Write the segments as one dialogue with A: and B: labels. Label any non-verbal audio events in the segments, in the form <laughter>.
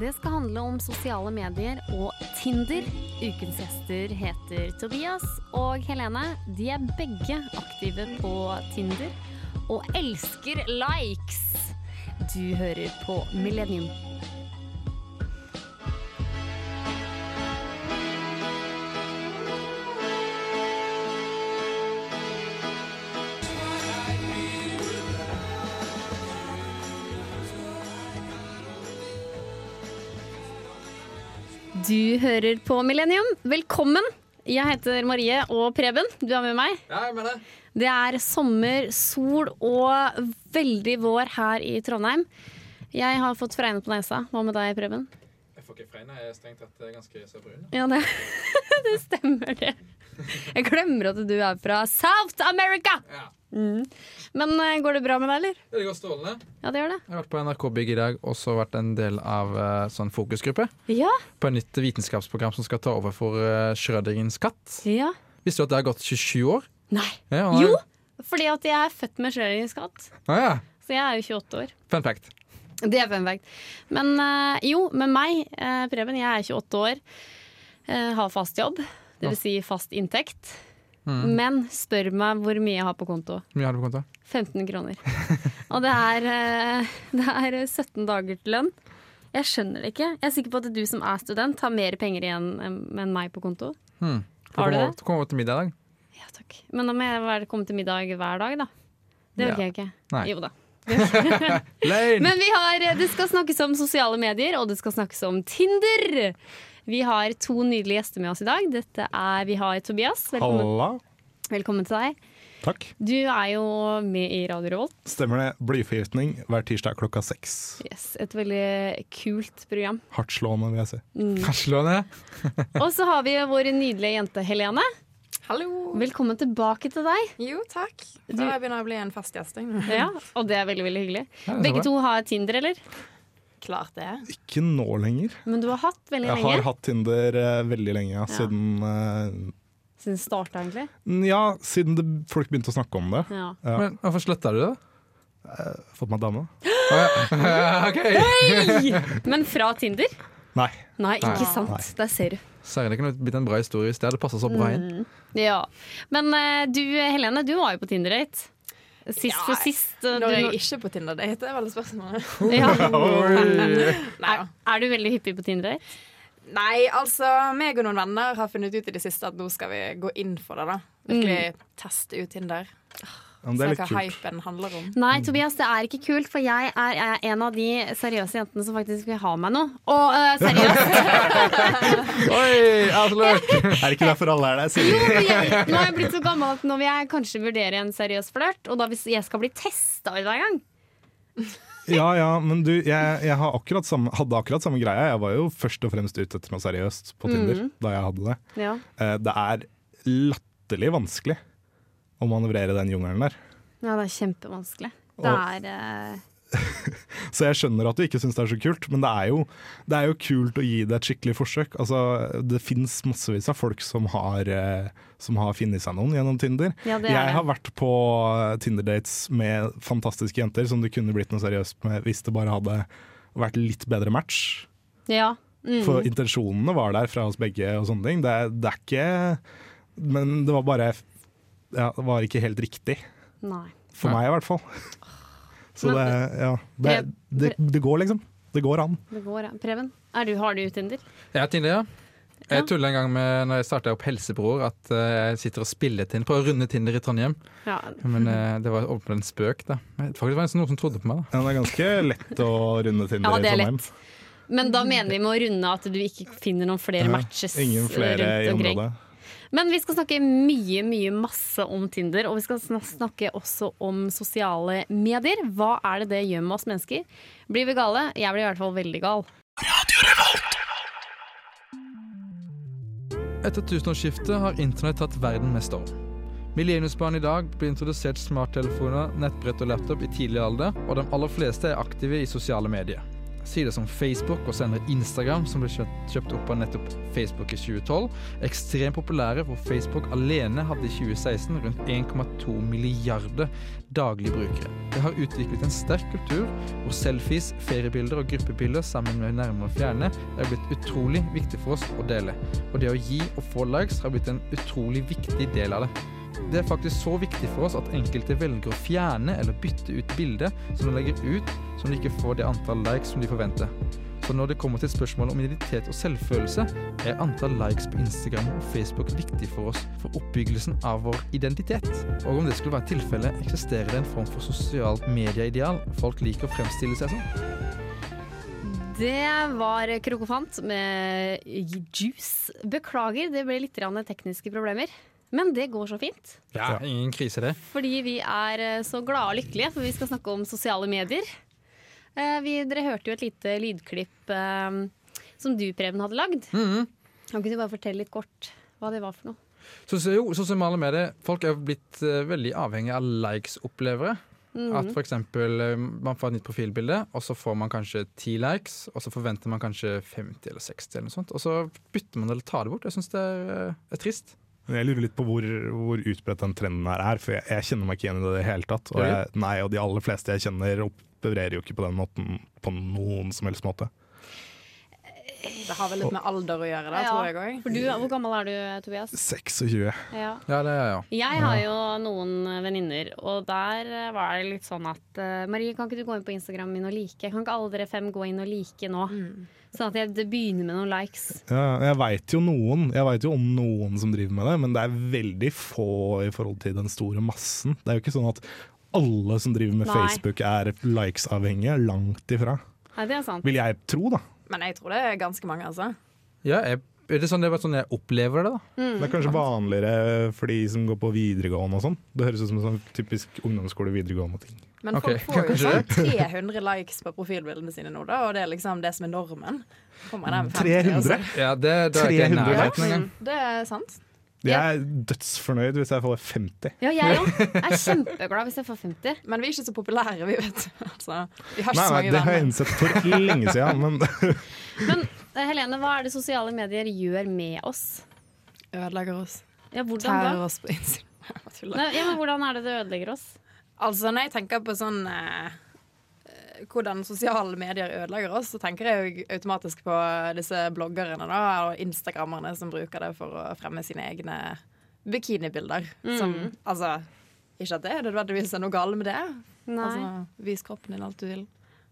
A: Det skal handle om sosiale medier og Tinder. Ukens gjester heter Tobias og Helene. De er begge aktive på Tinder og elsker likes. Du hører på Millennium. Du hører på Millennium. Velkommen! Jeg heter Marie og Preben. Du er med meg.
B: Ja, jeg mener det.
A: Det er sommer, sol og veldig vår her i Trondheim. Jeg har fått fregne på nesa. Hva med deg, Preben?
B: Jeg får ikke fregna. Jeg er strengt tatt eh, ganske så brun.
A: Ja, det, <laughs> det stemmer, det. Jeg glemmer at du er fra South America!
B: Ja.
A: Mm. Men eh, går det bra med deg, eller?
B: Det går strålende.
A: Ja, det gjør det.
B: Jeg har vært på NRK Bygg i dag, og så vært en del av eh, sånn fokusgruppe
A: Ja,
B: på et nytt vitenskapsprogram som skal ta over for uh, Schrødingens katt.
A: ja.
B: Visste du at det har gått 27 år?
A: Nei.
B: Ja, han er-
A: Jo, fordi at jeg er født med skjøringskatt.
B: Ah, ja.
A: Så jeg er jo 28 år.
B: Fun fact.
A: Det er fun fact. Men eh, jo, med meg, eh, Preben, jeg er 28 år, eh, har fast jobb,
B: Ja.
A: dvs. Si fast inntekt.
B: Mm.
A: Men spør meg hvor mye jeg har på konto.
B: Hvor mye har du på konto?
A: 15 kroner. Og det er, eh, det er 17 dager til lønn. Jeg skjønner det ikke. Jeg er sikker på at du som er student, har mer penger igjen em, enn meg på konto.
B: Hmm.
A: Har du
B: Kommer
A: det?
B: over- kommer over til middag i dag.
A: Ja, takk. Men da må jeg være- komme til middag hver dag, da. Det
B: Ja.
A: orker jeg ikke.
B: Nei.
A: Jo da.
B: Lane!
A: Men vi har, eh, det skal snakkes om sosiale medier, og det skal snakkes om Tinder. Vi har to nydelige gjester med oss i dag. Dette er, vi har Tobias. Velkommen,
C: Halla.
A: velkommen til deg.
C: Takk.
A: Du er jo med i Radio Revolt.
C: Stemmer det. Blyforgiftning hver tirsdag klokka seks.
A: Yes, et veldig kult program.
C: Hardtslående, vil jeg si.
B: Barcelona.
A: Og så har vi vår nydelige jente Helene.
D: Hallo!
A: Velkommen tilbake til deg.
D: Jo, takk.
A: Du-
D: Da jeg begynner jeg å bli en fast gjest. jeg.
A: Ja, og det er veldig veldig hyggelig.
B: Ja, det er
A: Begge
B: bra.
A: to har Tinder, eller?
D: <laughs> Klart det.
C: Ikke nå lenger.
A: Men du har hatt veldig
C: Jeg har
A: lenge.
C: hatt Tinder eh, veldig lenge, ja. Siden,
A: Siden det starta, egentlig.
C: eh, ja, siden det, folk begynte å snakke om det.
A: Ja.
C: Ja.
B: Men hvorfor slutta du, da?
C: Fått meg dame?
B: Ah, <laughs> OK!
A: Men fra Tinder?
C: Nei.
A: Nei, ikke
D: Nei.
A: sant.
C: Nei.
A: Der ser du.
B: Søren, det kunne blitt en bra historie hvis det hadde passa så bra inn.
A: Ja. Men eh, du, Helene, du var jo på Tinder-date. Sist
D: Ja,
A: for sist. eh,
D: Når jeg
A: du,
D: ikke på Tinder-date, det er vel spørsmålet. <laughs>
A: <laughs>
D: eh,
A: ja.
B: Oi.
D: Nei,
A: er, er du veldig hyppig på Tinder-date?
D: Nei, altså, meg og noen venner har funnet ut i det siste at nå skal vi gå inn for det. da. Virkelig teste ut Tinder.
C: Men det
D: Se
C: er
D: hva
C: litt kult.
D: hypen handler <laughs> om.
A: Nei, Tobias, det er ikke kult, for jeg er, jeg er en av de seriøse jentene som faktisk vil ha meg nå. Og eh, seriøst!
B: Oi, avslørt!
C: Er det ikke derfor alle er
A: Jo,
C: der? Sier de.
A: men jeg, nå har jeg blitt så gammel at nå vil jeg kanskje vurdere en seriøs flørt. Og da hvis jeg skal bli testa hver gang
C: Ja ja, men du, jeg, jeg har akkurat samme, hadde akkurat samme greia. Jeg var jo først og fremst ute etter noe seriøst på Tinder da jeg hadde det.
A: ja.
C: Eh, Det er latterlig vanskelig å manøvrere den jungelen der.
A: ja, det er kjempevanskelig. Det
C: Og-
A: er eh,
C: Så jeg skjønner at du ikke syns det er så kult, men det er jo, det er jo kult å gi det et skikkelig forsøk. Altså, det fins massevis av folk som har, eh, som har funnet seg noen gjennom Tinder.
A: Ja, det er
C: jeg
A: det.
C: har vært på eh, Tinder-dates med fantastiske jenter som det kunne blitt noe seriøst med hvis det bare hadde vært litt bedre match.
A: Ja. Mm.
C: For intensjonene var der fra oss begge og sånne ting. Det, er- det er ikke Men det var bare ja, Det var ikke helt riktig.
A: Nei.
C: For meg i hvert
A: <laughs>
C: fall. Så det, ja, det, det, det går liksom. Det går an.
A: Det går, ja. Preben, er du, har du Tinder?
B: Jeg har Tinder, ja.
A: Ja.
B: Jeg tulla en gang med når jeg starta opp Helsebror, at eh, jeg sitter og spiller Tinder, prøver å runde Tinder i Trondheim.
A: Ja.
B: Men eh, det var åpenbart en spøk, da. Men Faktisk var det noen som trodde på meg, da.
C: Ja, det er ganske lett å runde Tinder
A: Ja, det er
C: i Trondheim.
A: lett. Men da mener vi med å runde at du ikke finner noen flere
C: Ja,
A: matches
C: Ingen flere i
A: rundt omkring.
C: området.
A: Men vi skal snakke mye, mye masse om Tinder, og vi skal sn- snakke også om sosiale medier. Hva er det det gjør med oss mennesker? Blir vi gale? Jeg blir i hvert fall veldig gal.
B: Etter tusenårsskiftet har internett tatt verden med storm. Millenniumsbarn i dag blir introdusert smarttelefoner, nettbrett og laptop i tidlig alder, og de aller fleste er aktive i sosiale medier. Sider som Facebook og senere Instagram, som ble kjøpt, kjøpt opp av nettopp Facebook i 2012, ekstremt populære, hvor Facebook alene hadde i 2016 rundt 1,2 milliarder daglige brukere. Det har utviklet en sterk kultur hvor selfies, feriebilder og gruppebilder sammen med nærme og fjerne er blitt utrolig viktig for oss å dele. Og det å gi og få likes har blitt en utrolig viktig del av det. Det er faktisk så viktig for oss at enkelte velger å fjerne eller bytte ut bilder som de legger ut, som de ikke får det antall likes som de forventer. Så når det kommer til spørsmålet om identitet og selvfølelse, er antall likes på Instagram og Facebook viktig for oss for oppbyggelsen av vår identitet. Og om det skulle være tilfellet, eksisterer det en form for sosialt medieideal folk liker å fremstille seg sånn. som.
A: Det var Krokofant med juice. Beklager, det ble litt grann tekniske problemer. Men det går så fint,
B: Ja, ingen krise det.
A: fordi vi er eh, så glade og lykkelige, for vi skal snakke om sosiale medier. Eh, Vi, dere hørte jo et lite lydklipp eh, som du, Preben, hadde lagd. Kan ikke du bare fortelle litt kort hva det var for noe?
B: Så, så, jo, så som alle med det, folk er blitt eh, veldig avhengig av likes-opplevere. At for eksempel eh, man får et nytt profilbilde, og så får man kanskje ti likes, og så forventer man kanskje 50 eller 60 eller noe sånt, og så bytter man det eller tar det bort. Jeg syns det er, eh, er trist.
C: Men Jeg lurer litt på hvor, hvor utbredt den trenden her er, for jeg, jeg kjenner meg ikke igjen i det i det hele tatt. Og,
B: Gjør
C: jeg, nei, og de aller fleste jeg kjenner opererer jo ikke på den måten på noen som helst måte.
D: Det har vel litt med alder å gjøre, da,
A: Ja.
D: tror jeg òg.
A: For du, hvor gammel er du, Tobias?
C: 26.
A: Ja.
B: Ja, det er ja.
A: Jeg har jo noen eh, venninner, og der eh, var det litt sånn at eh, Marie, kan ikke du gå inn på Instagram min og like? Kan ikke alle dere fem gå inn og like nå? Sånn at jeg det begynner med noen likes.
C: Ja, jeg veit jo noen, jeg vet jo om noen som driver med det, men det er veldig få i forhold til den store massen. Det er jo ikke sånn at alle som driver med
A: Nei.
C: Facebook er likes-avhengige. Langt ifra,
A: Nei, det er sant.
C: vil jeg tro, da.
D: Men jeg tror det er ganske mange, altså.
B: ja jeg, er det sånn, det er bare sånn jeg opplever det, da.
C: Det er kanskje vanligere for de som går på videregående og sånn. Det høres ut som en sånn typisk ungdomsskole-videregående-ting.
D: Men
B: Ok,
D: folk får jo
B: kanskje
D: sånn 300 likes på profilbildene sine nå, da, og det er liksom det som er normen. Kommer
C: Mm,
D: der med 50, og så-
C: 300!
B: Ja, det, det er ikke i
C: 300
B: nærheten engang.
D: Det er sant.
C: Jeg er dødsfornøyd hvis jeg får 50.
A: Ja, jeg òg. Jeg er kjempeglad hvis jeg får 50.
D: Men vi er ikke så populære, vi, vet <laughs> du. Altså, vi har ikke
C: Nei,
D: så
C: nei,
D: mange
C: det har jeg
D: venner.
C: innsett for lenge siden, men
A: Men eh, Helene, hva er det sosiale medier gjør med oss?
D: Ødelegger oss.
A: Ja, hvordan da?
D: Tærer oss på innsiden. <laughs> Jeg tuller.
A: Nei, ja, men hvordan er det det ødelegger oss?
D: Altså, når jeg tenker på sånn eh, eh, hvordan sosiale medier ødelegger oss, så tenker jeg jo automatisk på disse bloggerne da, og instagrammerne som bruker det for å fremme sine egne bikinibilder. Som, altså, ikke at det er nødvendigvis er noe galt med det.
A: Nei,
D: Altså, vis kroppen din alt du vil.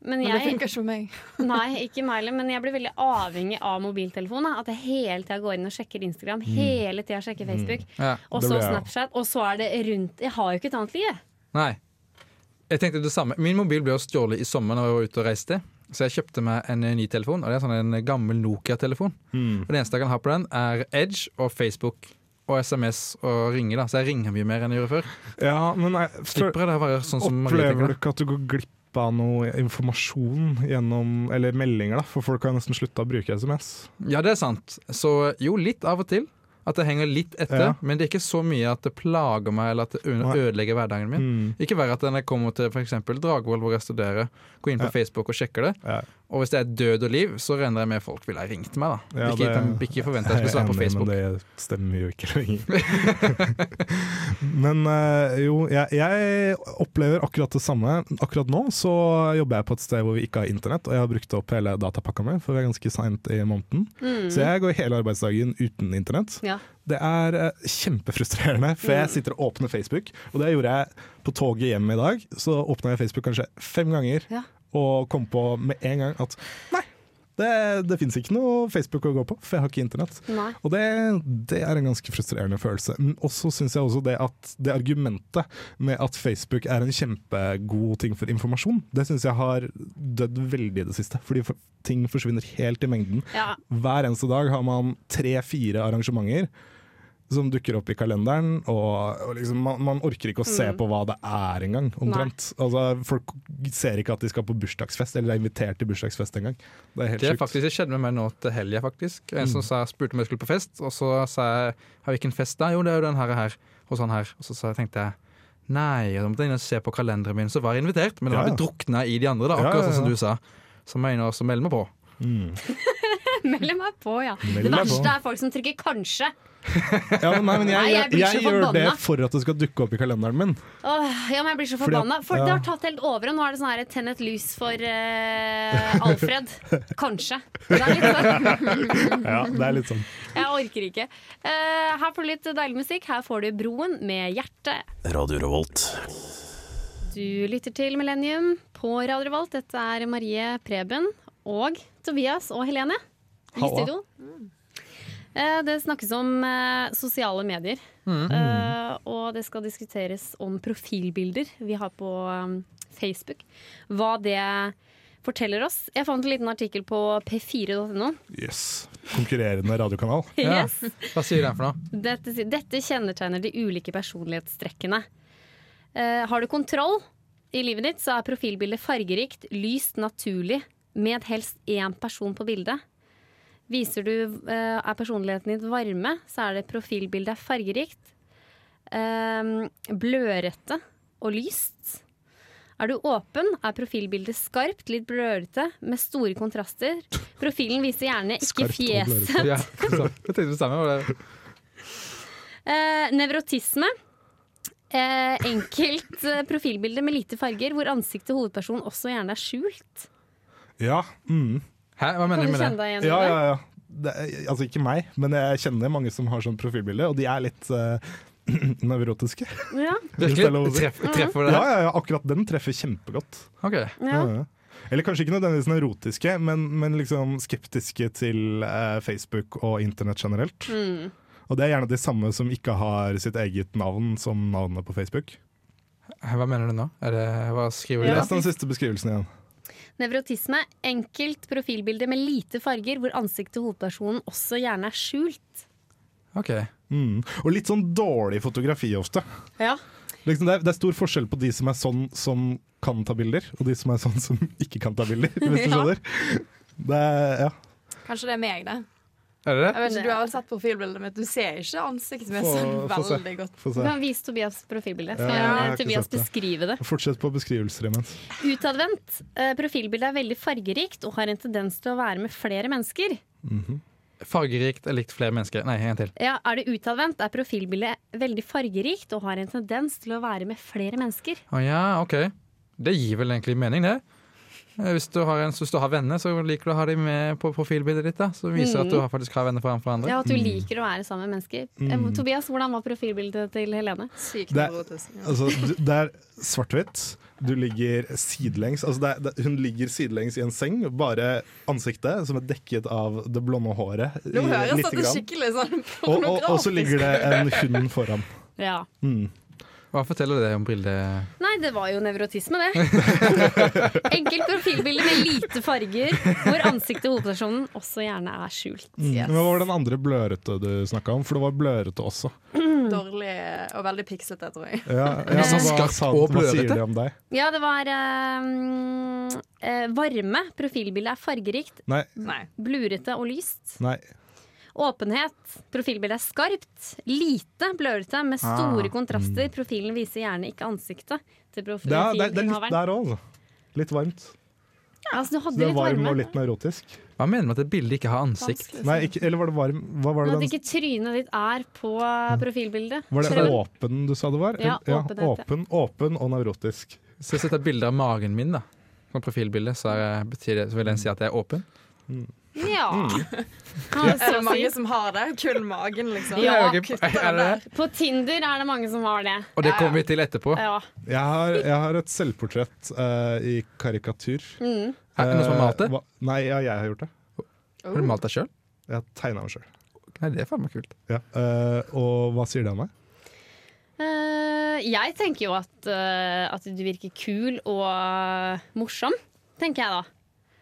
A: men
D: Men det
A: jeg,
D: funker ikke for meg.
A: nei, ikke meg heller, men jeg blir veldig avhengig av mobiltelefonen. jeg. At jeg hele tida går inn og sjekker Instagram, hele tida sjekker Facebook.
B: Ja.
A: Og
C: Mm. Det
A: så
C: blir jeg.
A: Snapchat, og så er det rundt Jeg har jo ikke et annet liv. jeg.
B: Nei. Jeg tenkte det samme. Min mobil ble jo stjålet i sommer når jeg var ute og reiste. Så jeg kjøpte meg en eh, ny telefon, og det er sånn en gammel Nokia-telefon.
C: Hmm.
B: Og Det eneste jeg kan ha på den, er Edge og Facebook og SMS og ringe. da Så jeg ringer mye mer enn jeg gjorde før.
C: Ja, men jeg, for,
B: Slipper jeg det å være sånn som Marie
C: Opplever
B: tenker.
C: du
B: da?
C: ikke at du går glipp av noe informasjon gjennom Eller meldinger, da? For folk har nesten slutta å bruke SMS.
B: Ja, det er sant. Så jo, litt av og til. At det henger litt etter.
C: Ja.
B: Men det er ikke så mye at det plager meg eller at det ø-
C: Nei. Hmm.
B: ødelegger hverdagen min.
C: Mm.
B: Ikke verre at når jeg kommer til for eksempel Dragvoll, hvor jeg studerer, går inn på
C: Ja.
B: Facebook og sjekker det.
C: Ja.
B: Og hvis det er død og liv, så regner jeg med folk ville ha ringt meg. da
C: Ja,
B: Ikke,
C: det-
B: kan- ikke forvente at jeg
C: <laughs>
B: skulle svare på
C: Jeg er enig,
B: Facebook.
C: Men det stemmer jo ikke lenger. <laughs> men eh, jo, jeg, jeg opplever akkurat det samme. Akkurat nå så jobber jeg på et sted hvor vi ikke har internett, og jeg har brukt opp hele datapakka mi, for vi er ganske seint i måneden. Så jeg går hele arbeidsdagen uten internett.
A: Ja.
C: Det er eh, kjempefrustrerende, for
A: Mm.
C: jeg sitter og åpner Facebook. Og det gjorde jeg på toget hjem i dag. Så åpna jeg Facebook kanskje fem ganger
A: Ja.
C: og kom på med en gang at nei, det, det fins ikke noe Facebook å gå på, for jeg har ikke internett.
A: Nei.
C: Og det, det er en ganske frustrerende følelse. Men også syns jeg også det at det argumentet med at Facebook er en kjempegod ting for informasjon, det syns jeg har dødd veldig i det siste. Fordi for- ting forsvinner helt i mengden.
A: Ja,
C: Hver eneste dag har man tre-fire arrangementer som dukker opp i kalenderen. Og, og liksom, man, man orker ikke å se
A: Mm.
C: på hva det er engang, omtrent. Altså, folk ser ikke at de skal på bursdagsfest, eller er invitert til bursdagsfest engang. Det er helt
B: Det er
C: sjukt. Mm.
B: faktisk det skjedde med meg nå til helga, faktisk. En som sa, spurte om jeg skulle på fest, og så sa jeg ja, 'hvilken fest da?' Jo, det er jo den her, og her hos han her. Og så sa, tenkte jeg nei, og da måtte jeg inn og se på kalenderen min, så var jeg invitert, men da
C: Ja,
B: hadde jeg drukna i de andre, da,
C: Ja,
B: akkurat
C: ja,
B: sånn som
C: ja.
B: du sa. så mener jeg også meld meg på.
C: Mm.
A: <laughs> Meld meg på, ja.
C: Meld
A: det
C: deg
A: verste
C: på.
A: er folk som trykker 'kanskje'.
C: Ja, men, nei, men jeg,
A: Nei, jeg
C: jeg,
A: blir så
C: gjør det
A: forbanna.
C: for at det skal dukke opp i kalenderen min.
A: Åh, ja, men jeg blir så
C: Fordi at-
A: forbanna. For det
C: ja.
A: har tatt helt over, og nå er det sånn her tenn et lys for eh,
C: <laughs>
A: Alfred. Kanskje. Det er litt sånn.
C: Ja, det er litt sånn.
A: Jeg orker ikke. Eh, her får du litt deilig musikk. Her får du 'Broen' med hjertet.
E: Radio Revolt.
A: Du lytter til Millennium på Radio Revolt. Dette er Marie Preben og Tobias og Helene i
B: Halla.
A: studio. Eh, Det snakkes om eh, sosiale medier,
B: Mm.
A: Eh, og det skal diskuteres om profilbilder vi har på um, Facebook. Hva det forteller oss. Jeg fant en liten artikkel på p4.no.
C: Yes. Konkurrerende radiokanal.
B: Ja.
A: Yes.
B: Hva sier den for noe?
A: Dette, si- dette kjennetegner de ulike personlighetstrekkene. Eh, har du kontroll i livet ditt, så er profilbildet fargerikt, lyst, naturlig, med helst én person på bildet. Viser du eh, er personligheten din varme, så er det profilbildet er fargerikt, eh, blødrette og lyst. Er du åpen, er profilbildet skarpt, litt blørete, med store kontraster. Profilen viser gjerne ikke
C: Skarpt og blørete.
A: fjeset.
B: Ja, så, jeg tenkte det samme. var det-
A: Eh, nevrotisme. Eh, enkelt eh, profilbilde med lite farger, hvor ansiktet til hovedpersonen også gjerne er skjult.
C: Ja. Mm.
B: Hæ,
A: Kan
B: hva mener
A: du
B: du med
A: kjenne
B: det?
A: deg igjen i
C: ja,
A: det?
C: ja, ja. Det, er- altså ikke meg, men jeg kjenner mange som har sånn profilbilde, og de er litt eh, <clears throat> nevrotiske.
A: Ja,
C: Hvis det er lov å
B: Virkelig?
C: si.
B: Treff, treffer det?
C: Ja, ja, ja, akkurat den treffer kjempegodt.
B: Ok.
A: ja.
C: Ja, ja. Eller kanskje ikke nødvendigvis nevrotiske, men, men liksom skeptiske til eh, Facebook og internett generelt.
A: Mm.
C: Og det er gjerne de samme som ikke har sitt eget navn som navnet på Facebook.
B: Hva mener du nå? Er det, hva skriver du?
C: Les
B: da?
C: den siste beskrivelsen igjen.
A: Nevrotisme. Enkelt profilbilde med lite farger, hvor ansiktet til hovedpersonen også gjerne er skjult.
B: Ok.
C: Mm. Og litt sånn dårlig fotografi ofte.
A: Ja.
C: Liksom det, er, det er stor forskjell på de som er sånn som kan ta bilder, og de som er sånn som ikke kan ta bilder, hvis
A: <laughs>
C: du
A: Ja.
C: skjønner. Det er, ja.
D: Kanskje det er meg, det.
B: Er det det?
D: Jeg vet ikke, Altså, Du har vel sett profilbildet mitt. Du ser ikke ansiktet mitt så
C: Få- få se.
D: veldig godt.
C: Få
A: Du
C: se.
A: kan vise Tobias profilbilde.
C: Ja, jeg har
A: Skal
C: ikke
A: Tobias
C: sett det.
A: beskrive det?
C: Fortsett på beskrivelser imens.
A: Utadvendt. Eh, Profilbildet er veldig fargerikt og har en tendens til å være med flere mennesker.
B: Fargerikt er likt flere mennesker. Nei, en til.
A: Ja, Er det utadvendt, er profilbildet veldig fargerikt og har en tendens til å være med flere mennesker.
B: Å ja, ok. Det gir vel egentlig mening, det. Eh, Hvis du har, en, hvis du har venner, så liker du å ha dem med på profilbildet ditt. da Så viser at du har- faktisk har venner framfor andre.
A: Mm. Ja, At du
C: Mm.
A: liker å være sammen med mennesker. Eh, Tobias, hvordan var profilbildet til Helene?
D: Sykt
C: Det-
D: nevrotisk. Ja.
C: Altså, du- det er svart-hvitt. Du ligger sidelengs. Altså, det er, det, hun ligger sidelengs i en seng, bare ansiktet som er dekket av det blonde håret.
D: Nå
C: i-
D: høres
C: lite
D: dette
C: grann.
D: skikkelig sånn
C: <laughs> og, og, og så
D: pornografisk
C: ligger det en hund foran.
A: Ja.
C: Mm.
B: Hva forteller det om bildet?
A: Nei, det var jo nevrotisme,
C: <laughs>
A: det. Enkelt profilbilde med lite farger, hvor ansiktet til hovedpersonen også gjerne er skjult.
C: Mm. Men Hva var den andre blørete du snakka om? For det var blørete også.
D: dårlig og veldig piksete, tror jeg.
C: Ja,
B: Er det sånn
C: hva
B: skarpt
C: sa-
B: og
C: Hva sier
B: blørete?
C: de om deg?
A: Ja, det var eh, mm, eh, varme. Profilbildet er fargerikt,
C: Nei.
D: Nei.
A: blurete og lyst.
C: nei.
A: Åpenhet. Profilbildet er skarpt, lite blørete, med store
B: Ah,
A: kontraster. Profilen viser gjerne ikke ansiktet til
C: Mm. Det, er, det, er- det er litt
A: profilinnehaveren.
C: der òg. Litt varmt.
A: Altså, du
C: Så
A: hadde
C: det er
A: litt
C: varm
A: varme.
C: og litt nevrotisk.
B: Hva mener du med at et bilde ikke har ansikt?
D: Vanskelig.
C: Nei, ikke, eller var det varm? Hva
A: Men
C: var det
A: at
C: den Mm.
A: ikke trynet ditt er på profilbildet.
C: var
A: Så
C: det
A: det var-
C: åpen du sa det var?
A: Ja, åpenhet, ja.
C: åpen, åpen og nevrotisk.
B: Så hvis dette er bilde av magen min, da som profilbilde, så, er, betyr det, så vil en si at jeg er åpen.
A: Ja.
C: Mm.
A: <laughs>
D: <laughs> Er det
A: Kan
D: mange
A: jeg så si.
D: som har det? Kun magen, liksom?
A: Ja,
D: Ja,
B: ok.
D: kutter
B: Er
D: den
B: det
D: der.
A: På Tinder er det mange som har det.
B: Og det kommer vi til etterpå.
A: Ja.
C: Jeg har, jeg har et selvportrett eh, i karikatur.
A: Mm.
B: Er det noen som har malt det?
C: Eh, hva- Nei, ja, jeg har gjort det.
B: Har du malt deg sjøl?
C: Jeg har tegna meg sjøl.
B: Nei, det er faen meg kult.
C: Ja. eh, og hva sier det om meg?
A: Eh, jeg tenker jo at, eh, at du virker kul og eh, morsom, tenker jeg da.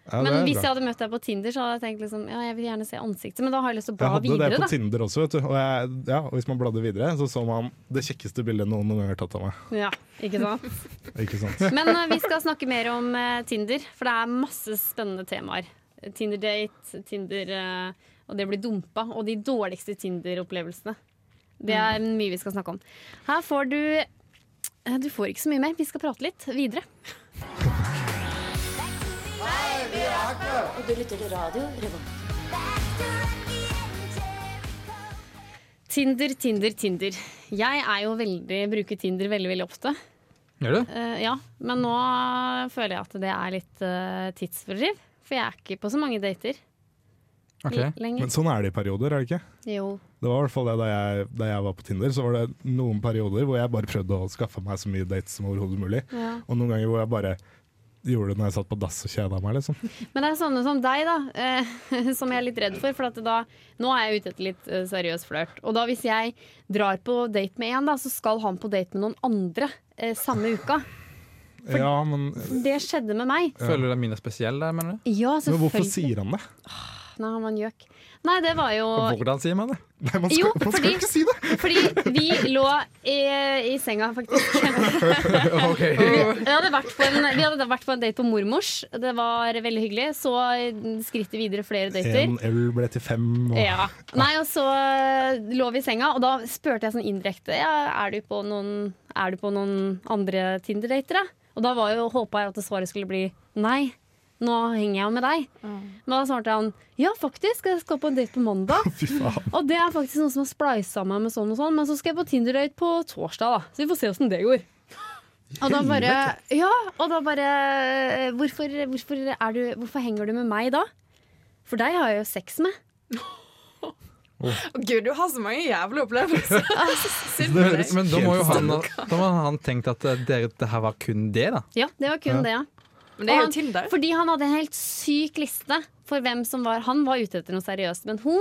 C: Ja,
A: Men
C: det er
A: hvis jeg
C: bra.
A: hadde møtt deg på Tinder, så hadde jeg tenkt liksom, ja, jeg vil gjerne se ansiktet. Men da har jeg lyst til å
C: jeg
A: bla
C: hadde
A: videre,
C: det på
A: da.
C: Tinder også, vet du. Og, jeg, ja, og hvis man bladde videre, så så man det kjekkeste bildet noen noen gang har tatt av meg.
A: Ja, ikke sant?
C: Ikke
A: <laughs>
C: sant?
A: Men eh, vi skal snakke mer om eh, Tinder, for det er masse spennende temaer. Tinder-date, Tinder eh, og det å bli dumpa, og de dårligste Tinder-opplevelsene. Det er mye vi skal snakke om. Her får du eh, Du får ikke så mye mer. Vi skal prate litt videre.
F: Hei, vi er
E: Og du lytter til radio Revolt.
A: Tinder, Tinder, Tinder. Jeg er jo veldig, bruker Tinder veldig veldig ofte.
B: Gjør du?
A: Eh, ja, Men nå føler jeg at det er litt uh, tidsfordriv. For jeg er ikke på så mange dater
B: Ok.
A: l- lenger.
C: Men sånn er det i perioder, er det ikke?
A: Jo.
C: Det var i hvert fall det da jeg, da jeg var på Tinder. Så var det noen perioder hvor jeg bare prøvde å skaffe meg så mye dates som overhodet mulig.
A: Ja.
C: Og noen ganger hvor jeg bare gjorde det når jeg satt på dass og kjeda meg, liksom.
A: Men det er sånne som deg, da, eh, <laughs> som jeg er litt redd for. For at da, nå er jeg ute etter litt eh, seriøs flørt. Og da hvis jeg drar på date med én, da, så skal han på date med noen andre eh, samme uka.
C: Ja,
A: <laughs>
C: men,
A: Det skjedde med meg.
B: Føler du deg mindre spesiell der, mener du?
A: Ja,
C: men hvorfor
A: selvfølgelig.
C: sier han det?
A: Nei, han var en gjøk. Nei, det var jo
B: Hvordan sier
A: <laughs>
B: man det?
C: Nei, man skal,
A: Jo,
C: man skal
A: fordi-
C: ikke si det!
A: Fordi vi lå i, i senga, faktisk.
B: Ok.
A: Vi hadde, vært på en, vi hadde vært på en date på mormors. Det var veldig hyggelig. Så eh, skrittet videre flere dater.
C: En øl ble til fem, og
A: Ja. Nei, og så eh, lå vi i senga, og da spurte jeg sånn indirekte ja, er, du på noen, er du på noen andre Tinder-dater. da? Og da var jo, håpa jeg at det svaret skulle bli nei. Nå henger jeg jo med deg. Men da svarte han ja, faktisk. Jeg skal på en date på mandag.
C: fy faen.
A: Og det er faktisk noen som har splisa meg med sånn og sånn, men så skal jeg på Tinder-date på torsdag, da. Så vi får se åssen det går. Og da bare Ja, og da bare eh, hvorfor, hvorfor, er du, hvorfor henger du med meg da? For deg har jeg jo sex med.
D: Å, Gud, du har så mange jævlige
C: <laughs>
D: opplevelser.
A: Ah,
D: Så synd for deg.
B: Men da må jo han, da må han tenkt at eh, dere, det her var kun det, da.
A: Ja, det var kun
C: Ja.
A: det, ja.
D: Men det er
A: Og
D: jo
A: han-
D: Tinder.
A: Fordi han hadde en helt syk liste for hvem som var Han var ute etter noe seriøst, men hun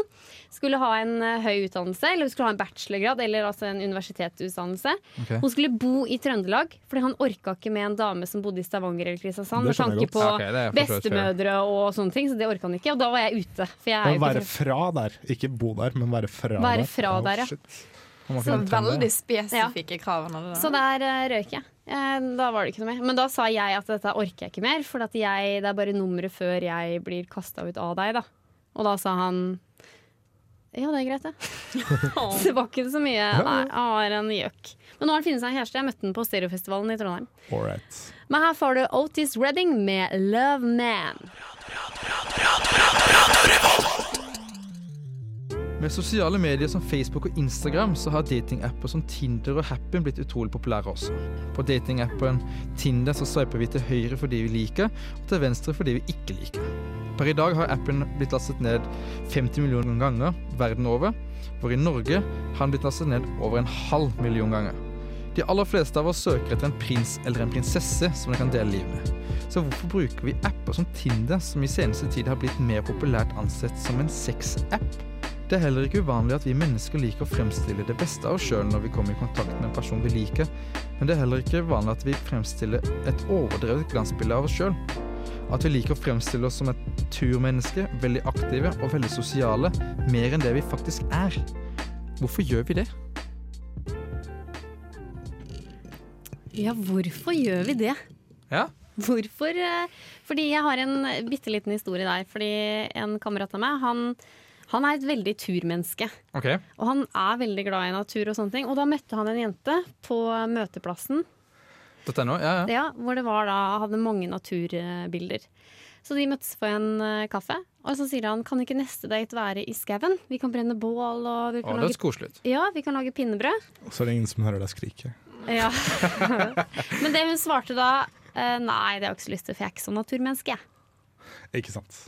A: skulle ha en eh, høy utdannelse, eller hun skulle ha en bachelorgrad, eller altså en universitetsutdannelse.
B: Ok.
A: Hun skulle bo i Trøndelag, fordi han orka ikke med en dame som bodde i Stavanger eller Kristiansand, med
C: Det skjønner
A: tanke
C: jeg
A: på
B: godt. Ja, ok, det er for så vidt fair.
A: bestemødre og sånne ting, så det orka han ikke. Og da var jeg ute, for jeg er
C: Men
A: jo
C: være
A: ikke fra
C: fra der, ikke bo der, men være fra
A: Være
C: der.
A: fra
C: Å,
A: der, ja.
C: shit.
B: Han var
D: Så
B: kun trønder.
D: Sånn veldig spesifikke krav. han hadde
A: Så
D: der.
A: der eh, røyk jeg. Eh, Da var det ikke noe mer. Men da sa jeg at dette orker jeg ikke mer, for at jeg, det er bare nummeret før jeg blir kasta ut av deg, da. Og da sa han ja, det er greit, det. <laughs> Så det var ikke så mye. Nei, han var en gjøk. Men nå har han funnet seg en kjæreste. Jeg møtte han på Stereofestivalen i Trondheim.
C: All right.
A: Men her får du Otis Redding med 'Love Man'.
B: Med sosiale medier som Facebook og Instagram så har datingapper som Tinder og Happn blitt utrolig populære også. På datingappen Tinder så sveiper vi til høyre for de vi liker, og til venstre for de vi ikke liker. Per i dag har appen blitt lastet ned 50 millioner ganger verden over, hvor i Norge har den blitt lastet ned over en halv million ganger. De aller fleste av oss søker etter en prins eller en prinsesse som de kan dele livet med. Så hvorfor bruker vi apper som Tinder, som i seneste tid har blitt mer populært ansett som en sex-app? Det er heller ikke uvanlig at vi mennesker liker å fremstille det beste av oss sjøl når vi kommer i kontakt med en person vi liker, men det er heller ikke vanlig at vi fremstiller et overdrevet glansbilde av oss sjøl. At vi liker å fremstille oss som et turmenneske, veldig aktive og veldig sosiale, mer enn det vi faktisk er. Hvorfor gjør vi det?
A: Ja, hvorfor gjør vi det?
B: Ja,
A: Hvorfor? eh, Fordi jeg har en bitte liten historie der. Fordi en kamerat av meg, han, han er et veldig turmenneske.
B: ok.
A: Og han er veldig glad i natur og sånne ting. Og da møtte han en jente på møteplassen,
B: .no, ja, ja.
A: ja, hvor det var da, hadde mange naturbilder. Så de møttes på en eh, kaffe, og så sier han kan ikke neste date være i skauen? Vi kan brenne bål og vi
B: Å,
A: kan,
B: det høres
A: lage,
B: koselig ut.
A: ja, vi kan lage pinnebrød.
C: Så er det ingen som hører deg skrike.
A: Ja. <laughs> Men det hun svarte da, eh, nei, det har jeg ikke så lyst til, for jeg er ikke sånn naturmenneske. jeg.
C: Ikke sant.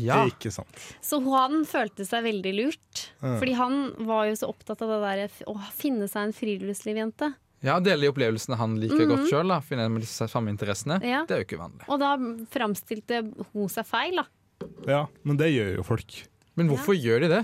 B: Ja.
C: Ikke sant.
A: Så han følte seg veldig lurt.
C: Ja.
A: Fordi han var jo så opptatt av det der å finne seg en friluftslivjente.
B: ja, dele de opplevelsene han liker
D: Mhm.
B: godt sjøl, finne en med de samme interessene.
A: Ja.
B: Det er jo ikke uvanlig.
A: Og da framstilte hun seg feil, da.
C: Ja, men det gjør jo folk.
B: Men hvorfor gjør de det?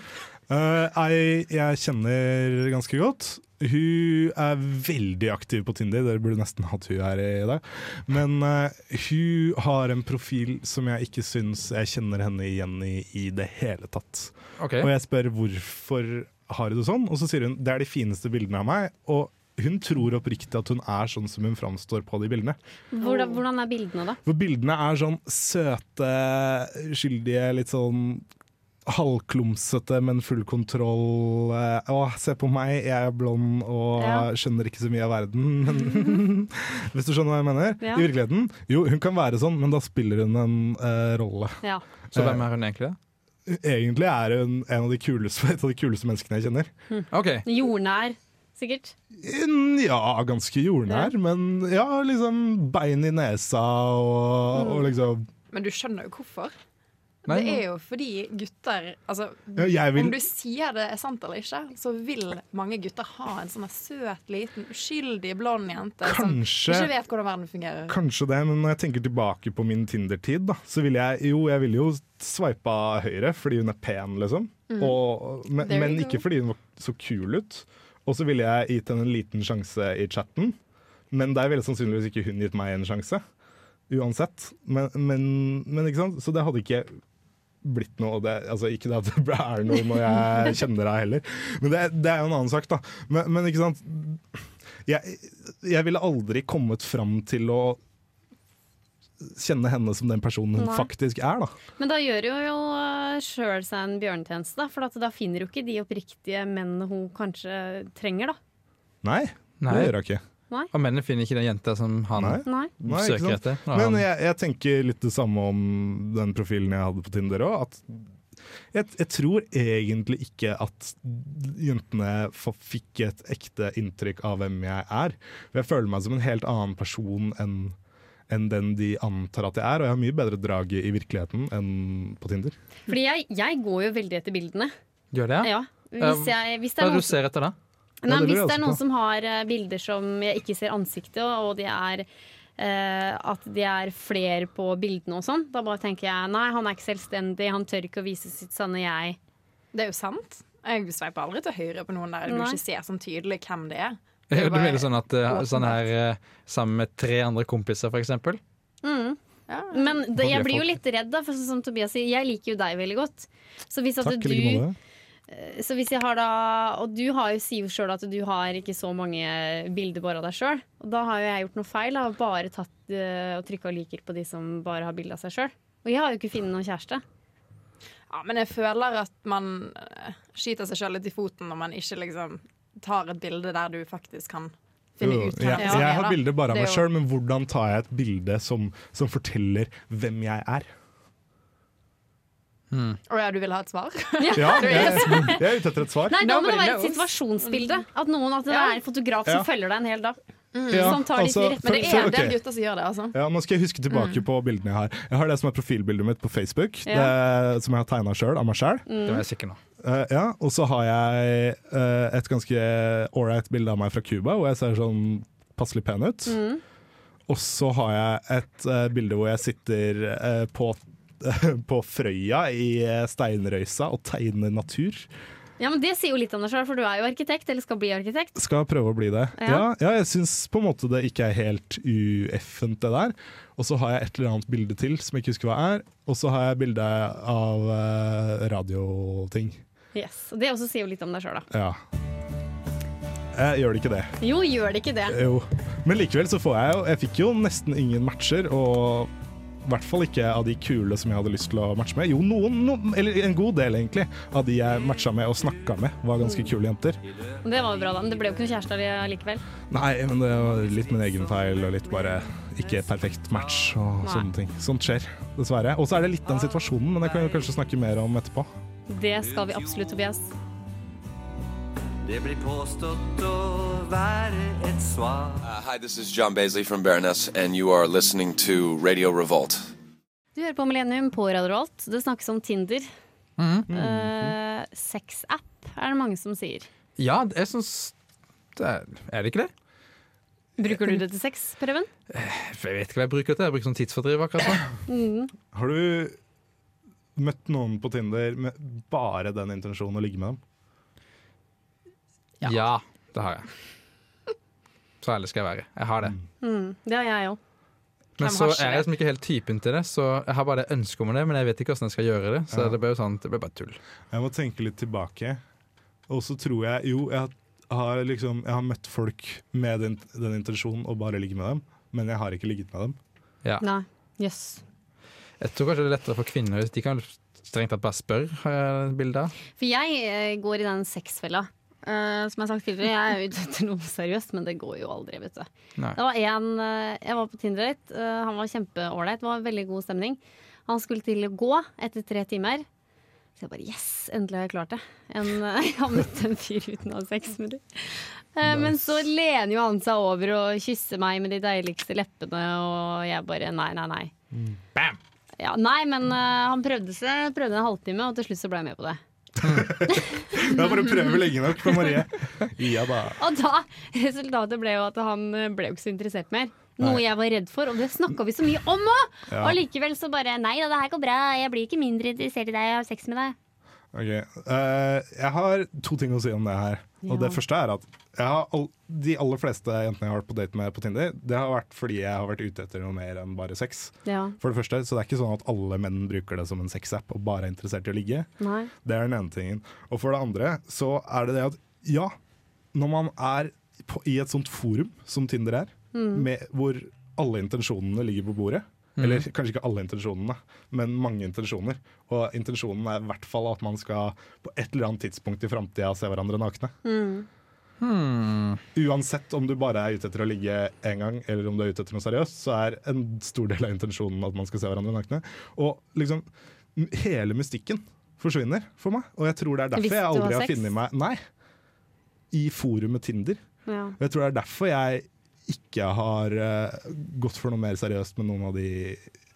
C: Eh, Ei jeg kjenner ganske godt. Hun er veldig aktiv på Tinder, dere burde nesten hatt hun her i dag. Men eh, hun har en profil som jeg ikke syns jeg kjenner henne igjen i i det hele tatt.
B: Ok,
C: Og jeg spør hvorfor har du det sånn, og så sier hun det er de fineste bildene av meg. Og hun tror oppriktig at hun er sånn som hun framstår på de bildene.
A: Hvordan, hvordan er bildene, da?
C: For bildene er sånn søte, skyldige, litt sånn halvklumsete, men full kontroll. eh, Å, se på meg, jeg er blond og
A: Ja.
C: skjønner ikke så mye av verden. <laughs> Men hvis du skjønner hva jeg mener?
A: Ja.
C: I virkeligheten? Jo, hun kan være sånn, men da spiller hun en eh, rolle.
A: Ja.
B: Så hvem er hun egentlig? da?
C: Egentlig er hun en av de kuleste, et av de kuleste menneskene jeg kjenner.
B: OK.
A: Jordnær, sikkert.
C: Mm, Ja, ganske jordnær, men ja, liksom bein i nesa og,
D: Mm.
C: og liksom
D: Men du skjønner jo hvorfor.
B: Nei,
D: det er jo fordi gutter altså,
C: Ja, jeg vil-
D: Om du sier det er sant eller ikke, så vil mange gutter ha en sånn her søt, liten, uskyldig blond jente
C: Kanskje.
D: som sånn, ikke vet hvordan verden fungerer.
C: Kanskje det, men når jeg tenker tilbake på min Tinder-tid, da, så ville jeg jo, jeg ville jo sveipa høyre fordi hun er pen, liksom. Og, men
D: Mm. There you
C: men
D: go.
C: ikke fordi hun var så kul ut. Og så ville jeg gitt henne en liten sjanse i chatten, men der ville sannsynligvis ikke hun gitt meg en sjanse. Uansett. Men, men, men ikke sant? Så det hadde ikke blitt noe og det, altså Ikke det at det er noe når jeg kjenner deg heller, men det, det er jo en annen sak, da. Men, men ikke sant jeg, jeg ville aldri kommet fram til å kjenne henne som den personen hun
A: Nei.
C: faktisk er, da.
A: Men da gjør jo, jo sjøl seg en bjørnetjeneste, da, for at da finner jo ikke de oppriktige mennene hun kanskje trenger, da.
C: Nei,
B: Nei.
C: det gjør hun ikke.
B: Og mennene finner ikke den jenta som han
C: Nei.
A: Nei.
C: Nei, ikke
B: søker
C: sant?
B: etter. når
C: Men
B: han-
C: jeg, jeg tenker litt det samme om den profilen jeg hadde på Tinder òg. At jeg, jeg tror egentlig ikke at jentene fa- fikk et ekte inntrykk av hvem jeg er. For Jeg føler meg som en helt annen person enn enn den de antar at jeg er, og jeg har mye bedre drag i virkeligheten enn på Tinder.
A: Fordi jeg, jeg går jo veldig etter bildene.
B: Gjør det?
A: Ja. Hvis, jeg, hvis det er
B: Hva er det
A: noen
B: du ser etter da?
A: Nei,
C: det
A: men
C: lurer
A: hvis
C: jeg
A: det er
C: også
A: noen
C: på.
A: som har eh, bilder som jeg ikke ser ansiktet, og og de er eh, at de er flere på bildene og sånn, da bare tenker jeg nei, han er ikke selvstendig, han tør ikke å vise sitt sanne jeg.
D: Det er jo sant. Jeg sveiper aldri til høyre på noen der du
A: Nei.
D: ikke ser sånn tydelig hvem det er. Det er
B: Du
D: jo bare-
B: mener sånn at eh,
D: åpenbart.
B: sånn her eh, sammen med tre andre kompiser, for eksempel?
D: Ja.
A: Men det, jeg
B: Håper jeg
A: blir jo
B: får-
A: litt redd, da, for sånn som Tobias sier, jeg liker jo deg veldig godt. Så hvis, at
C: Takk, i like
A: du,
C: måte.
A: så hvis jeg har da Og du har jo, sier jo sjøl at du har ikke så mange bilder bare av deg sjøl. Og da har jo jeg gjort noe feil og bare tatt eh, og trykka liker på de som bare har bilde av seg sjøl. Og jeg har jo ikke funnet noen kjæreste.
D: Ja, men jeg føler at man eh, skyter seg sjøl litt i foten når man ikke liksom tar et bilde der du faktisk kan finne
C: Jo,
D: ut hvem
C: jeg,
D: det
A: Ja.
D: er,
C: jeg har
D: da.
C: bilder bare av
D: Det er
C: meg
D: jo-
C: sjøl, men hvordan tar jeg et bilde som, som forteller hvem jeg er?
D: <laughs> Å ja, du vil ha et
C: <laughs>
D: svar?
C: Ja, jeg, jeg er ute etter et svar.
A: Nei, da må det
D: Nobody
A: være et
D: knows.
A: situasjonsbilde. At noen, at det
D: Ja.
A: er en fotograf
C: Ja.
A: som følger deg en hel dag.
C: Ja,
A: som tar de
C: altså,
A: rette-
D: Men det
C: for-
D: er en
C: ok.
D: del gutter som gjør det, altså.
C: Ja, Nå skal jeg huske tilbake på bildene jeg har. Jeg har det som er profilbildet mitt på Facebook, det, som jeg har tegna sjøl av meg sjøl.
D: Mm.
B: Det var jeg sikker nå.
C: ja. Og så har jeg eh, et ganske ålreit bilde av meg fra Cuba, hvor jeg ser sånn passelig pen ut. Og så har jeg et eh, bilde hvor jeg sitter eh, på <laughs> på Frøya i eh, steinrøysa og tegner natur.
A: Ja, men Det sier jo litt om deg sjøl, for du er jo arkitekt, eller skal bli arkitekt.
C: Skal prøve å bli det.
A: Ja.
C: Ja, ja, jeg syns på en måte det ikke er helt ueffent, det der. Og så har jeg et eller annet bilde til som jeg ikke husker hva er. Og så har jeg bilde av eh, radioting.
A: Yes, og Det også sier jo litt om deg sjøl, da.
C: Ja. Jeg gjør det ikke det.
A: Jo, gjør det ikke det.
C: Jo. Men likevel så får jeg jo Jeg fikk jo nesten ingen matcher, og i hvert fall ikke av de kule som jeg hadde lyst til å matche med. Jo, noen, noen eller en god del, egentlig, av de jeg matcha med og snakka med, var ganske kule jenter.
A: Og Det var jo bra, da. Men det ble jo ikke noen kjæreste allikevel.
C: Nei, men det var litt min egen feil og litt bare ikke perfekt match og
A: Nei.
C: sånne ting. Sånt skjer, dessverre. Og så er det litt den situasjonen, men det kan vi kanskje snakke mer om etterpå.
A: Det skal vi absolutt, Tobias.
F: Det blir påstått å være et svar.
G: Uh, hi, this is John Baisley from Baroness, and you are listening to Radio Revolt.
A: Du hører på Millennium på Radio Rolt. Det snakkes om Tinder. Eh, Sexapp er det mange som sier.
B: Ja, jeg syns det er, er det ikke det?
A: Bruker du det til sex, Preben?
B: Jeg vet ikke hva jeg bruker til. Jeg bruker sånn tidsfordriv akkurat
D: <clears throat>
B: nå.
C: Har du møtt noen på Tinder med bare den intensjonen å ligge med dem?
B: Ja. det har jeg. Så ærlig skal jeg være. Jeg har det.
C: Mm.
A: Det har jeg òg.
B: Men
D: Hvem
B: så
D: har
B: er
D: ikke
B: jeg
D: det?
B: liksom ikke helt typen til det, så jeg har bare det ønsket om det, men jeg vet ikke hvordan jeg skal gjøre det. Så det ble jo sånn, det ble bare tull.
C: Jeg må tenke litt tilbake. Og så tror jeg jo jeg har, liksom, jeg har møtt folk med den, den intensjonen å bare ligge med dem, men jeg har ikke ligget med dem.
B: Ja.
A: Nei. Jøss.
B: Jeg tror kanskje det er lettere for kvinner hvis de kan Strengt tatt bare spør, har jeg et bilde av.
A: For jeg eh, går i den sexfella. Eh, som jeg har sagt tidligere, jeg er ute etter noe seriøst, men det går jo aldri. vet du
B: Nei.
A: Det var en, eh, Jeg var på Tinder-date. eh, han var kjempeålreit. Det var veldig god stemning. Han skulle til å gå etter tre timer. Så jeg bare yes, endelig har jeg klart det. En, <laughs> eh, jeg har møtt en fyr uten å ha sex med dem. Eh, Men så lener jo han seg over og kysser meg med de deiligste leppene, og jeg bare nei, nei, nei.
B: Bam!
A: Ja, nei, men eh, han prøvde seg, prøvde en halvtime, og til slutt så ble jeg med på det.
C: Det er bare å prøve lenge nok på <laughs> Marie. Ja da.
A: Og da, resultatet ble jo at han eh, ble jo ikke så interessert mer. Noe
C: Nei.
A: jeg var redd for, og det snakka vi så mye om òg!
C: Ja.
A: Og likevel så bare Nei da, det her går bra, jeg blir ikke mindre interessert i deg, jeg har sex med deg.
C: Ok, eh, Jeg har to ting å si om det her. Og
A: Ja.
C: det første er at jeg har all, de aller fleste jentene jeg har vært på date med på Tinder, det har vært fordi jeg har vært ute etter noe mer enn bare sex.
A: Ja,
C: For det første, Så det er ikke sånn at alle menn bruker det som en sexapp og bare er interessert i å ligge.
A: nei.
C: Det er den ene tingen. Og for det andre så er det det at ja, når man er på, i et sånt forum som Tinder er,
A: Mm.
C: med, hvor alle intensjonene ligger på bordet, eller kanskje ikke alle intensjonene, men mange intensjoner. Og intensjonen er i hvert fall at man skal på et eller annet tidspunkt i framtida se hverandre nakne.
A: Mm.
C: Uansett om du bare er ute etter å ligge én gang, eller om du er ute etter noe seriøst, så er en stor del av intensjonen at man skal se hverandre nakne. Og liksom, m- hele mystikken forsvinner for meg, og jeg tror det er
A: Hvis
C: derfor
A: du
C: jeg
A: har
C: aldri har
A: sex?
C: funnet meg Nei, i forumet Tinder.
A: Ja.
C: Og jeg tror det er derfor jeg ikke har eh, gått for noe mer seriøst med noen av de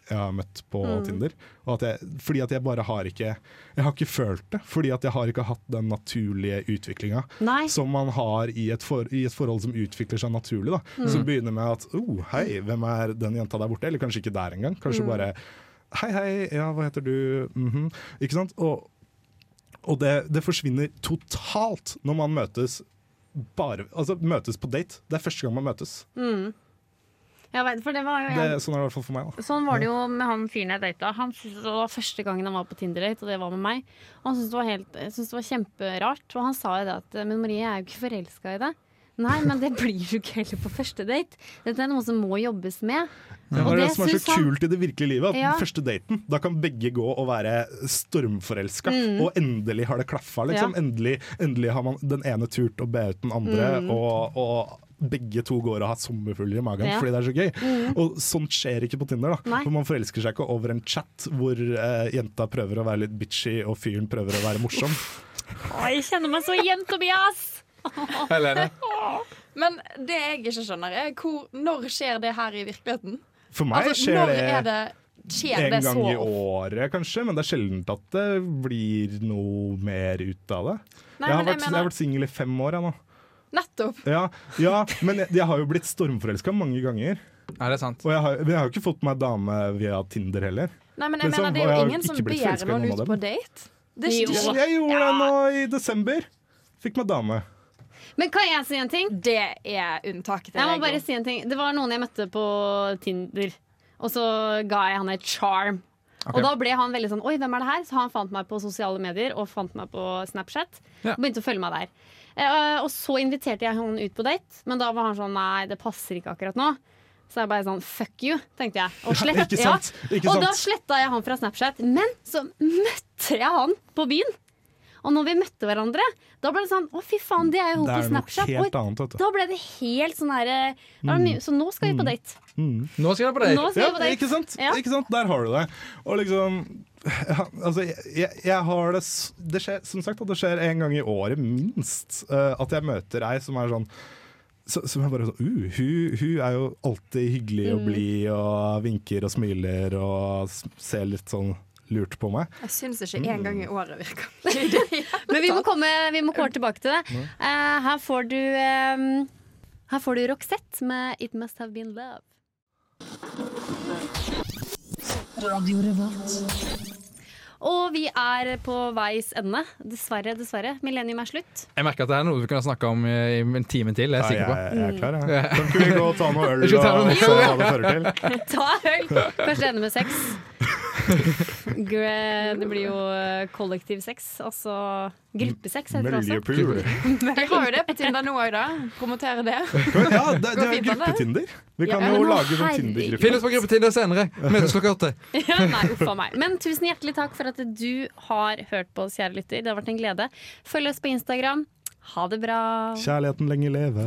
C: jeg har møtt på
A: Mm.
C: Tinder. Og at jeg, fordi at jeg bare har ikke Jeg har ikke følt det. Fordi at jeg har ikke hatt den naturlige utviklinga
A: Nei.
C: som man har i et, for, i et forhold som utvikler seg naturlig. Da.
A: Mm.
C: Som begynner med at oh, 'hei, hvem er den jenta der borte?' Eller kanskje ikke der engang. Kanskje
A: Mm.
C: bare 'hei, hei, ja, hva heter du?' Mhm. Ikke sant? Og, og det, det forsvinner totalt når man møtes bare, altså møtes på date. Det er første gang man møtes.
A: Jeg vet, for det var jo
C: Det,
A: en,
C: sånn er det i hvert fall for meg. Da.
A: Sånn var det jo med han fyren jeg data. Han syntes det var første gangen han var på Tinder-date, og det var med meg. Og han syntes det var, helt, syntes det var kjemperart. Og han sa jo det at Men Marie, jeg er jo ikke forelska i deg. Nei, men det blir du ikke heller på første date. Dette er noe som må jobbes med.
C: Det
A: Og
C: er det
A: det
C: som er
A: synes
C: så
A: han-
C: kult i det virkelige livet. At
A: Ja.
C: den første daten, da kan begge gå og være stormforelska. Og endelig har det klaffa, liksom.
A: Ja.
C: Endelig, endelig har man den ene turt å be ut den andre. Og, og begge to går og har sommerfugler i magen
A: Ja.
C: fordi det er så gøy. Og sånt skjer ikke på Tinder. da
A: Nei.
C: For Man forelsker seg ikke over en chat hvor eh, jenta prøver å være litt bitchy og fyren prøver å være morsom.
A: Å, jeg kjenner meg så igjen, Tobias!
B: Helene?
D: Men det jeg ikke skjønner, er hvor, når skjer det her i virkeligheten?
C: For meg
D: Altså,
C: skjer
D: når er
C: det
D: det Skjer det
C: en gang
D: så
C: i
D: ofte?
C: året, kanskje, men det er sjelden at det blir noe mer ut av det.
D: Nei,
C: jeg har
D: men
C: vært,
D: jeg
C: jeg
D: mener-
C: har vært singel i fem år jeg, nå.
D: Nettopp.
C: Ja, ja men jeg, jeg har jo blitt stormforelska mange ganger.
B: Er det sant?
C: Og jeg har, men jeg har jo ikke fått meg dame via Tinder heller.
D: Nei, men jeg
C: Men så
D: mener, det
C: har
D: er
C: jeg
D: jo
C: jo
D: ingen som
C: ikke blitt
D: ber
C: forelsket i
D: noen
C: noen
D: ut
C: av
D: på
C: dem.
D: date. Det er
A: Jo.
D: ikke,
C: Jeg gjorde det nå i desember. Fikk meg dame.
A: Men kan jeg si en ting?
D: det er unntaket. til
A: Jeg må
D: regelen.
A: bare si en ting Det var noen jeg møtte på Tinder, og så ga jeg han et charm.
B: Ok.
A: Og da ble han veldig sånn Oi, hvem er det her? Så han fant meg på sosiale medier og fant meg på Snapchat.
B: Ja.
A: Og begynte å følge meg der. Eh, og så inviterte jeg han ut på date, men da var han sånn Nei, det passer ikke akkurat nå. Så jeg bare sånn Fuck you, tenkte jeg. Og, slett,
C: ikke sant, ikke
A: og da
C: sant.
A: sletta jeg han fra Snapchat. Men så møtte jeg han på byen. Og når vi møtte hverandre, da ble det sånn Å, fy faen, de er jo
C: Det
A: hope
C: er
A: på
C: noe
A: Snapchat. Oi,
C: helt annet, vet du.
A: da ble det helt sånn her eh, det var mye- Så nå skal vi på date.
B: Nå skal jeg på date!
A: Nå skal
C: Ja,
A: vi på date.
C: ikke sant?
A: Ja.
C: Ikke sant? Der har du det. Og liksom ja, altså, jeg, jeg, jeg har det s- Det skjer som sagt at det skjer en gang i året, minst, eh, at jeg møter ei som er sånn så, som er bare sånn uh, hun, hun er jo alltid hyggelig
A: Mm.
C: og blid og vinker og smiler og s- ser litt sånn lurt på meg.
D: Jeg syns ikke en gang
C: Mm.
D: i året <laughs> virker.
A: Men vi må, komme, vi må kåre tilbake til det. Eh, her får du eh, Her får du Roxette med 'It Must Have Been Love'. Og vi er på veis ende. Dessverre, dessverre. Millennium er slutt.
B: Jeg merker at det er noe vi kan snakke om i i en time til. Jeg er
C: jeg,
B: sikker på.
C: jeg er klar, jeg. Kan ikke vi gå og ta noe øl
B: Vi skal ta
C: og
A: <laughs>
B: noe
C: og se hva det fører til?
A: Ta øl! Først ende med sex. Gre- Det blir jo eh, kollektiv sex, altså gruppesex heter det også.
H: Møljepul.
D: <laughs> Vi har jo det på Tinder nå òg, da. Promotere det.
H: Ja, det, det er
D: fint, Anne.
H: gruppetinder. Vi kan
A: Ja,
H: jo
A: men nå,
H: lage sånn
A: herregud.
B: Finn
H: Tinder-gruppe.
B: ut på gruppetinder senere. Møtes klokka åtte.
A: <laughs> Ja, nei, uff a meg. Men tusen hjertelig takk for at du har hørt på oss, kjære lytter. Det har vært en glede. Følg oss på Instagram. Ha det bra.
C: Kjærligheten lenge leve.